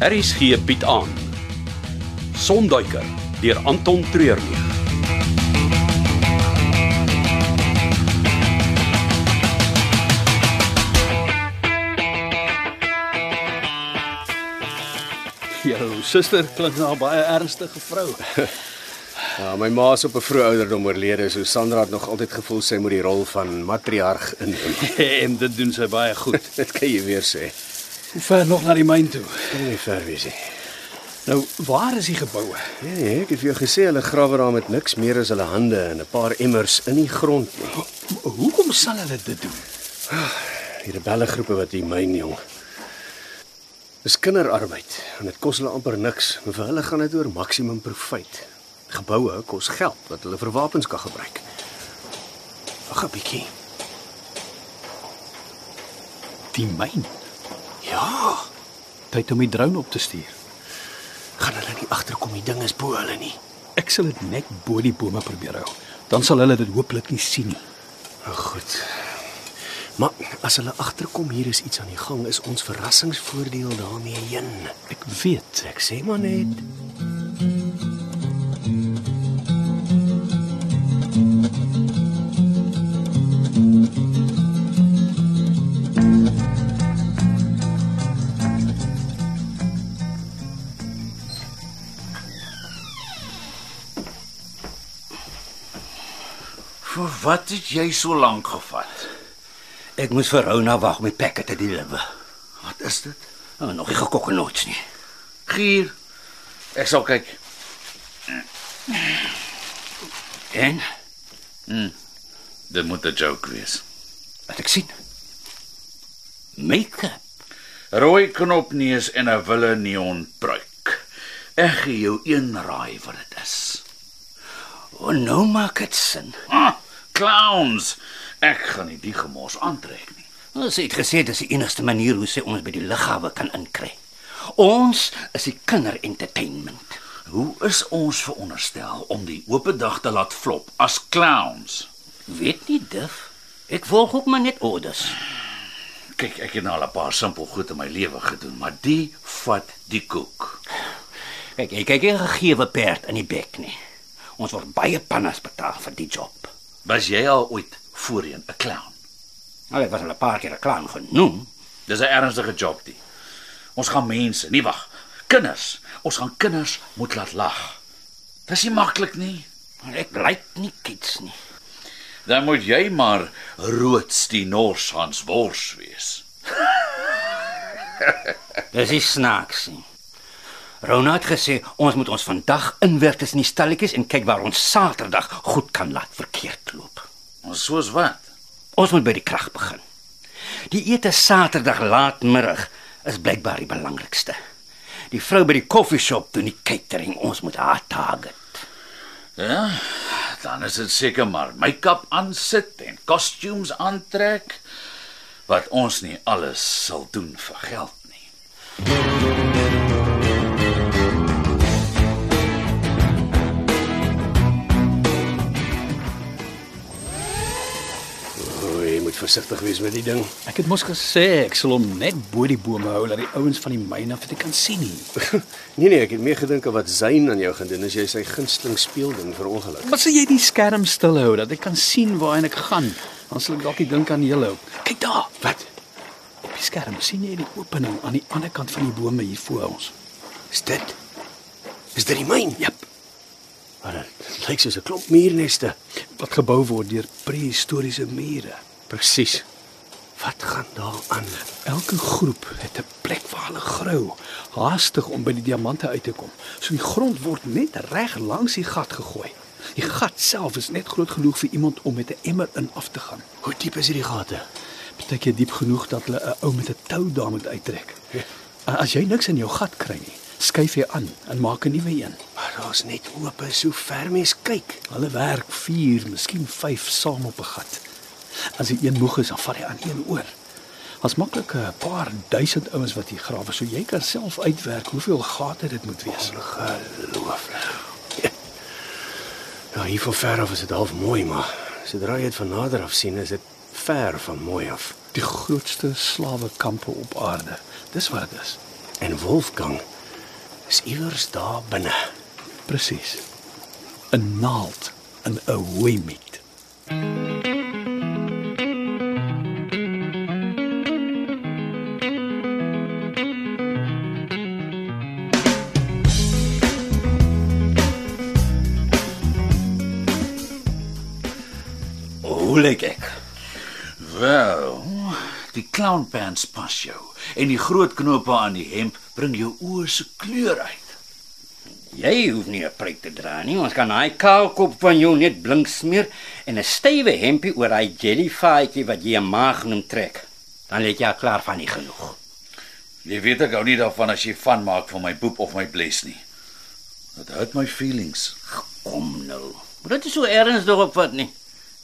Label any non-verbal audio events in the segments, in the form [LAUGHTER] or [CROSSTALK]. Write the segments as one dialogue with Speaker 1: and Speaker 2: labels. Speaker 1: Harris gee Piet aan. Sonduiker deur Anton Treurnig.
Speaker 2: Jou suster klink na 'n baie ernstige vrou.
Speaker 3: Ja, my ma is op 'n vroeë ouderdom oorlede, so Sandra het nog altyd gevoel sy moet die rol van matriarg inneem.
Speaker 2: [LAUGHS]
Speaker 3: [LAUGHS]
Speaker 2: en dit doen sy baie goed.
Speaker 3: Dit kan jy weer sê.
Speaker 2: Hoe [LAUGHS] ver nog na die myn toe?
Speaker 3: Kan nie ver wees nie.
Speaker 2: Nou, waar is die geboue?
Speaker 3: Nee, nee, ek het vir jou gesê hulle grawe daar met niks meer as hulle hande en 'n paar emmers in die grond nie.
Speaker 2: Hoekom sal hulle dit doen?
Speaker 3: Die rebellegroepe wat hier myn jong. Dis kinderarbeid en dit kos hulle amper niks, maar vir hulle gaan dit oor maksimum profiet. Geboue kos geld wat hulle vir wapens kan gebruik. Wag 'n bietjie.
Speaker 2: Die myn.
Speaker 3: Ja,
Speaker 2: Tyd om die drone op te stuur.
Speaker 3: gaan hulle nie agterkom die ding is bo hulle nie.
Speaker 2: Ek sal dit net bo die bome probeer hou. Dan sal hulle dit hooplik nie sien nie.
Speaker 3: Nou goed. Maar as hulle agterkom hier is iets aan die gang, is ons verrassingsvoordeel daarmee heen.
Speaker 2: Ek weet.
Speaker 3: Ek sê maar net.
Speaker 4: Vir wat het jy so lank gevat?
Speaker 5: Ek moes vir Rona wag om die pakket te deliver.
Speaker 4: Wat is dit?
Speaker 5: Nou nog nie gekokke noots nie.
Speaker 4: Gier. Ek sal kyk.
Speaker 5: En
Speaker 4: Hm. Dit moet 'n joke wees.
Speaker 5: wat ek sien. Make-up.
Speaker 4: Rooi knopneus en 'n wille neon pruik. Ek gee jou een raai wat dit is.
Speaker 5: Oh, nou maak dit sin.
Speaker 4: Ah, clowns. Ek gaan nie die gemors aantrek nie.
Speaker 5: Ons het gesê dis die enigste manier hoe sy ons by die lughawe kan inkry. Ons is die kinderentertainment.
Speaker 4: Hoe is ons veronderstel om die oop dag te laat flop as clowns?
Speaker 5: Weet nie dif. Ek volg ook maar net orders.
Speaker 4: Kyk, ek het nou al 'n paar simpel goed in my lewe gedoen, maar die vat die koek.
Speaker 5: Kyk, jy kyk nie 'n gegewe perd in die bek nie. Ons word baie pannas betaal vir die job.
Speaker 4: Was jy al ooit voorheen 'n clown?
Speaker 5: Nou ek was al 'n paar keer 'n klaan genoem.
Speaker 4: Dis 'n ernstige job die. Ons gaan mense, nie wag, kinders. Ons gaan kinders moet laat lag. Dis nie maklik nie.
Speaker 5: Maar ek lyk nie kids nie.
Speaker 4: Dan moet jy maar roods die Norshans wors wees.
Speaker 5: Dis is snaaks. nie. Rona het gesê ons moet ons vandag inwerk tussen die stalletjies en kyk waar ons Saterdag goed kan laat verkeerd loop.
Speaker 4: Ons soos wat?
Speaker 5: Ons moet by die krag begin. Die ete Saterdag laatmiddag is blykbaar die belangrikste. Die vrou by die koffieshop doen die catering, ons moet haar target.
Speaker 4: Ja. Dan is dit seker maar make-up aansit en costumes aantrek wat ons nie alles sal doen vir geld nie.
Speaker 3: O, jy moet versigtig wees met die ding.
Speaker 2: Ek het mos gesê ek sal hom net bo die bome hou dat die ouens van die myn af dit kan sien nie.
Speaker 3: Nee nee, ek het meer gedink aan wat Zayn aan jou gaan doen as jy sy gunsteling speelding verongeluk.
Speaker 2: Maar sê jy die skerm stil hou dat ek kan sien waarheen ek gaan. Dan sal ek dalk die ding aan julle hou. Kyk daar. Wat? Op die skerm sien jy die opening aan die ander kant van die bome hier voor ons.
Speaker 3: Is dit? Is dit die myn?
Speaker 2: Jep,
Speaker 3: Maar dit lyk soos 'n klomp muurneste.
Speaker 2: wat gebou word deur prehistoriese mure.
Speaker 3: Presies. Wat gaan daar aan?
Speaker 2: Elke groep het 'n plek waar hulle grou, haastig om by die diamante uit te kom. So die grond word net reg langs die gat gegooi. Die gat self is net groot genoeg vir iemand om met 'n emmer in af te gaan.
Speaker 3: Hoe diep is hierdie gate?
Speaker 2: Partykeer diep genoeg dat hulle 'n ou met 'n tou daar moet uittrek.
Speaker 3: Ja.
Speaker 2: En As jy niks in jou gat kry nie, skuif jy aan en maak 'n nuwe een.
Speaker 3: Maar daar's net oop is so ver mens kyk.
Speaker 2: Hulle werk 4, miskien 5 saam op 'n gat. As die een moeg is, dan vat hy aan een oor. Ons maklik 'n paar duisend ouens wat hier grawe, so jy kan self uitwerk hoeveel gate dit moet wees.
Speaker 3: Ongelooflik. Ja, hier van ver af is dit half mooi, maar sodra jy dit van nader af sien, is dit ver van mooi af.
Speaker 2: Die grootste slawekampe op aarde. Dis wat dit is.
Speaker 3: En Wolfgang Dis iewers daar binne.
Speaker 2: Presies. 'n Naald in 'n hooi met.
Speaker 5: Hoe lyk ek?
Speaker 4: Wel, die clownpants pas jou en die groot knope aan die hemp bring jou oë se kleur uit.
Speaker 5: Jy hoef nie 'n pruik te dra nie. Ons kan daai kaal kop van jou net blink smeer en 'n stywe hempie oor daai jellyvaatjie wat jy 'n magnum trek. Dan lê jy al klaar van nie genoeg.
Speaker 4: Jy weet ek hou nie daarvan as jy van maak van my boep of my bles nie. Dit hurt my feelings.
Speaker 5: Kom nou. Moet dit nie so ernstig opvat nie.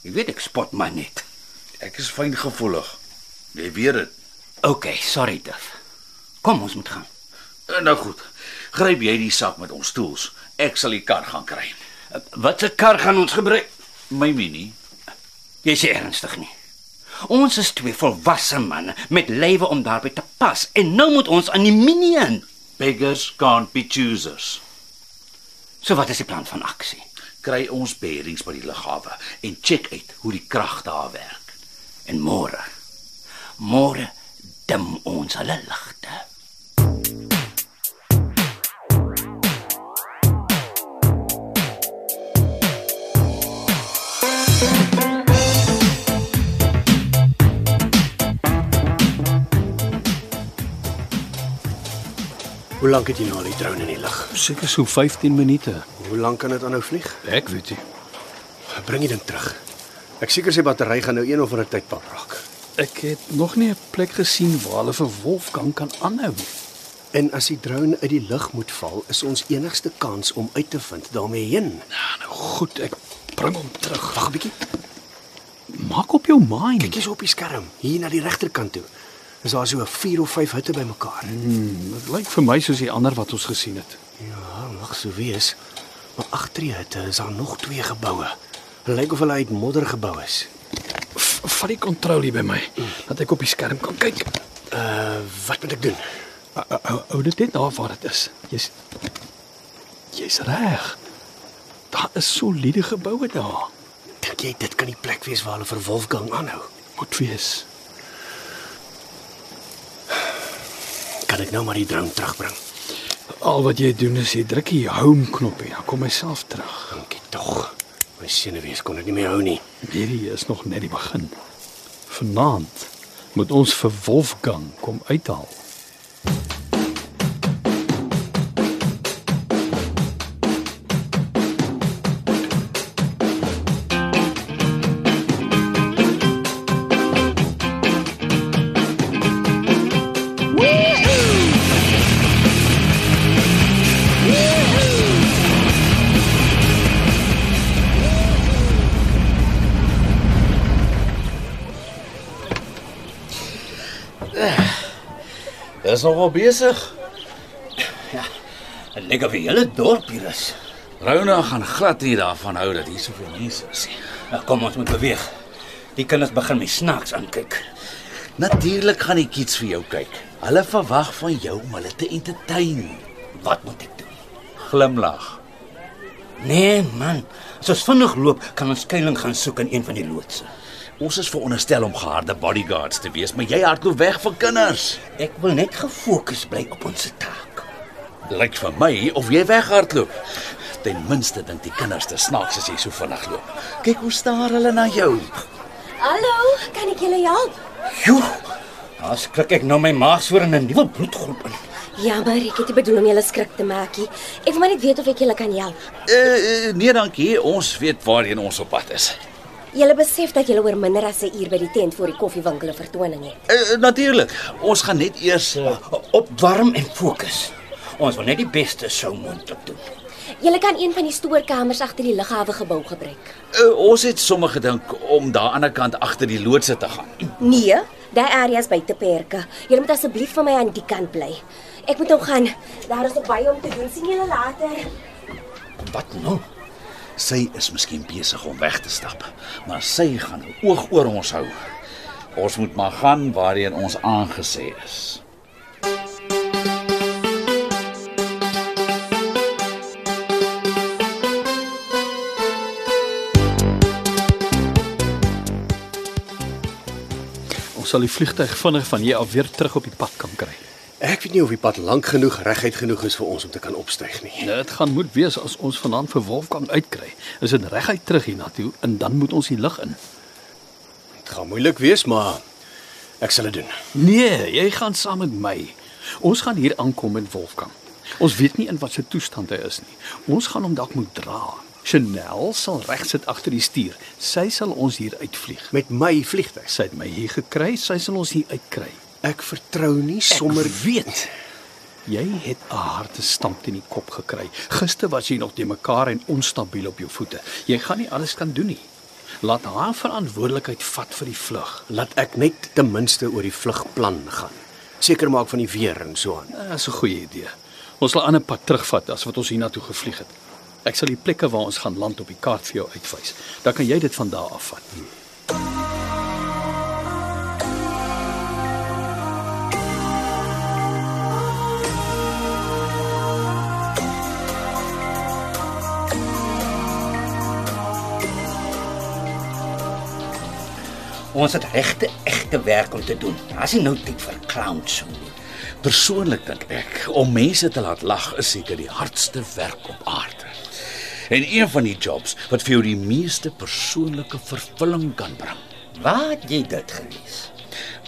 Speaker 5: Jy weet ek spot maar net.
Speaker 4: Ek is fyngevoelig. Jy weet dit.
Speaker 5: OK, sorry Duff. Kom ons moet gaan.
Speaker 4: Nou goed. Gryp jy die sak met ons tools. Ek sal die kar gaan kry.
Speaker 5: Wat 'n kar gaan ons gebruik?
Speaker 4: My mini.
Speaker 5: Jy is ernstig nie. Ons is twee volwasse manne met lewe om daarby te pas en nou moet ons aan die minien.
Speaker 4: Beggars can't be choosers.
Speaker 5: So wat is die plan van aksie?
Speaker 4: Kry ons bearings by die lughawe en check uit hoe die krag daar werk.
Speaker 5: En môre. Môre dim ons hulle ligte.
Speaker 3: Hoe lank het jy nou al die drone in die lug?
Speaker 2: Seker so 15 minute.
Speaker 3: Hoe lank kan dit aanhou vlieg?
Speaker 2: Ek weet nie.
Speaker 3: Bring die ding terug. Ek seker sy battery gaan nou een of ander tyd pap raak.
Speaker 2: Ek het nog nie 'n plek gesien waar hulle vir Wolfgang kan aanhou nie.
Speaker 3: En as die drone uit die lug moet val, is ons enigste kans om uit te vind daarmee heen.
Speaker 2: Ja, nou goed, ek bring hom terug.
Speaker 3: Wag 'n bietjie.
Speaker 2: Maak op jou mind.
Speaker 3: Kyk eens op die skerm, hier na die regterkant toe. Is daar so 4 of 5 hutte bymekaar?
Speaker 2: Dit lyk vir my soos die ander wat ons gesien het.
Speaker 3: Ja, mag so wees. Maar agter die hutte is daar nog twee geboue. Lyk of hulle uit modder gebou is.
Speaker 2: V- Vat die kontrol hier by my, dat ek op die skerm kan kyk.
Speaker 3: Uh, wat moet ek doen?
Speaker 2: Hou dit net daar waar dit is. Jy's Jy's reg. Daar is soliede geboue daar.
Speaker 3: Dink jy dit kan die plek wees waar hulle vir Wolfgang aanhou?
Speaker 2: Moet wees.
Speaker 3: Kan ek nou maar die drone terugbring?
Speaker 2: Al wat jy doen is jy druk die home knoppie, dan kom hy self terug.
Speaker 3: Dankie tog. My senuwees kon dit nie meer hou nie.
Speaker 2: Hierdie is nog net die begin. Vanaand moet ons vir Wolfgang kom uithaal.
Speaker 4: Dis nogal besig.
Speaker 5: Dit lyk of die hele dorp hier is.
Speaker 4: Rona gaan glad nie daarvan hou dat hier soveel mense is nie.
Speaker 5: Nou kom ons moet beweeg. Die kinders begin my snaaks aankyk.
Speaker 4: Natuurlik gaan die kids vir jou kyk. Hulle verwag van jou om hulle te entertain.
Speaker 5: Wat moet ek doen?
Speaker 4: Glimlag.
Speaker 5: Nee man, as ons vinnig loop, kan ons skuilings gaan soek in een van die loodse.
Speaker 4: Ons is veronderstel om geharde bodyguards te wees, maar jy hardloop weg van kinders.
Speaker 5: Ek wil net gefokus bly op ons taak.
Speaker 4: Lyk vir my of jy weghardloop. Ten minste dink die kinders te snaaks as jy so vinnig loop. Kyk hoe staar hulle na jou.
Speaker 6: Hallo, kan ek julle help?
Speaker 5: Joe, as klik ek nou my maag soor in 'n nuwe bloedgroep in.
Speaker 6: Jammer, ek het nie bedoel om julle skrik te maak nie. Ek wil maar net weet of ek julle kan help.
Speaker 4: Eh uh, uh, nee dankie, ons weet waarheen ons op pad is.
Speaker 6: Julle besef dat julle oor minder as 'n uur by die tent voor die koffiewinkel 'n vertoning het.
Speaker 4: Uh, Natuurlik. Ons gaan net eers uh,
Speaker 5: Opwarm en fokus. Ons wil net die beste sou moontlik doen.
Speaker 6: Julle kan een van die stoorkamers agter die lughawe gebou gebruik.
Speaker 4: uh, ons het sommer gedink om daar aan die ander kant agter die loodse te gaan.
Speaker 6: Nee, daai area is buite perke. Julle moet asseblief vir my aan die kant bly. Ek moet nou gaan. Daar is nog baie om te doen. sien julle later.
Speaker 5: Wat nou?
Speaker 4: Sy is miskien besig om weg te stap, maar sy gaan 'n oog oor ons hou. Ons moet maar gaan waarheen ons aangesê is.
Speaker 2: sal die vliegtyg vinnig van hier af weer terug op die pad kan kry.
Speaker 3: Ek weet nie of die pad lank genoeg reguit genoeg is vir ons om te kan opstyg nie.
Speaker 2: Nou, Dit gaan moet wees as ons vanaand vir Wolfgang uitkry. Is dit reguit terug hiernatoe en dan moet ons die lig in.
Speaker 3: Dit gaan moeilik wees, maar ek sal dit doen.
Speaker 2: Nee, jy gaan saam met my. Ons gaan hier aankom met Wolfgang. Ons weet nie in watter toestand hy is nie. Ons gaan hom dalk moet dra. Chanel sal regsit agter die stuur. Sy sal ons hier uitvlieg.
Speaker 3: Met my vliegtyg.
Speaker 2: Sy het my hier gekry, sy sal ons hier uitkry.
Speaker 3: Ek vertrou nie sommer
Speaker 2: weet. Jy het 'n harde stamp teen die kop gekry. Gister was jy nog te mekaar en onstabiel op jou voete. Jy gaan nie alles kan doen nie. Laat haar verantwoordelikheid vat vir die vlug.
Speaker 3: laat ek net ten minste oor die vlugplan gaan. Seker maak van die weer en so aan.
Speaker 2: Dit Ah, is 'n goeie idee. Ons sal 'n ander pad terugvat as wat ons hiernatoe gevlieg het. Ek sal die plekke waar ons gaan land op die kaart vir jou uitwys. Dan kan jy dit van daar af vat.
Speaker 5: Ons het regte egte werk om te doen. Daar's nie nou tyd vir clowns so nie.
Speaker 4: Persoonlik dink ek om mense te laat lag is seker die hardste werk op aarde. En een van die jobs wat vir jou die meeste persoonlike vervulling kan bring.
Speaker 5: Waar het jy dit gelees?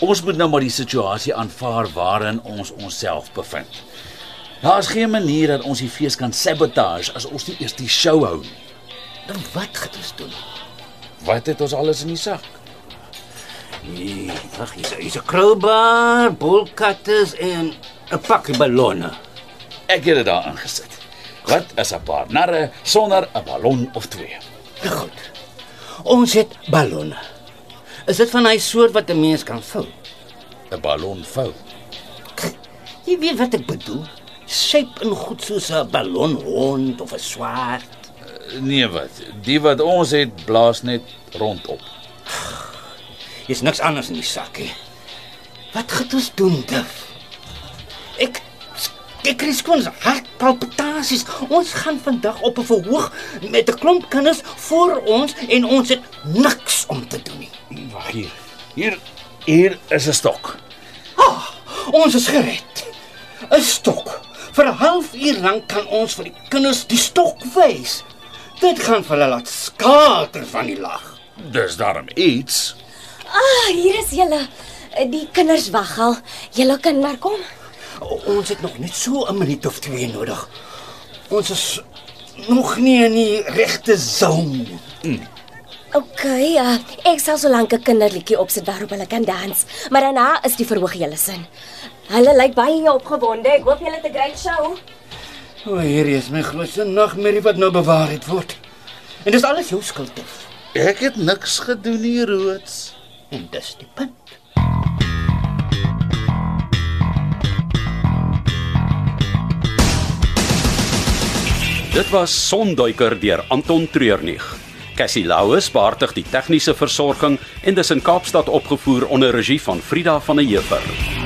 Speaker 4: Ons moet nou maar die situasie aanvaar waarin ons onsself bevind. Daar is geen manier dat ons die fees kan sabotage as ons nie eers die show hou nie.
Speaker 5: Dan Nou, wat gaan ons doen?
Speaker 4: Wat het ons alles in die sak?
Speaker 5: Nee, wag, hier's hier's 'n krulbaar, bolkatters en 'n pakkie ballonne.
Speaker 4: Ek het dit daar ingesit. Wat is 'n paar narre sonder 'n ballon of twee?
Speaker 5: Nou goed. Ons het ballonne. Is dit van hy soort wat 'n mens kan vul?
Speaker 4: 'n Ballon vou.
Speaker 5: Jy weet wat ek bedoel. Shape in goed soos 'n ballonhond of 'n swaard.
Speaker 4: Nee wat, die wat ons het blaas net rondop.
Speaker 5: Hier's niks anders in die sakkie. Wat gaan ons doen, Diff? Ek ek kry skoons hartpalpitasies. Ons gaan vandag op 'n verhoog met 'n klomp kinders voor ons en ons het niks om te doen nie.
Speaker 4: Wag hier. Hier hier is 'n stok.
Speaker 5: Ah, ons is gered. 'n Stok. Vir 'n halfuur lank kan ons vir die kinders die stok wys. Dit gaan vir hulle laat skater van die lag.
Speaker 4: Dis daarom iets.
Speaker 6: Ah, hier is julle. Die kinders wag al. Julle kan maar kom.
Speaker 5: O, ons het nog net so 'n minuut of twee nodig. Ons is nog nie in die regte zone. nie.
Speaker 6: OK, uh, ek sal so lank 'n kinderliedjie opsit waarop hulle kan dans, maar daarna is die verhoog julle sin. Hulle lyk baie opgewonde. Ek hoop julle het 'n great show.
Speaker 5: O, hierdie is my grootste nagmerrie wat nou bewaar het word. En dis alles jou skuld. Dief.
Speaker 4: Ek het niks gedoen nie, Roots.
Speaker 5: En dis die punt.
Speaker 1: Dit was Sonduiker deur Anton Treurnig. Cassie Louws beheerdig die tegniese versorging en dis in Kaapstad opgevoer onder regie van Frida van der Heever.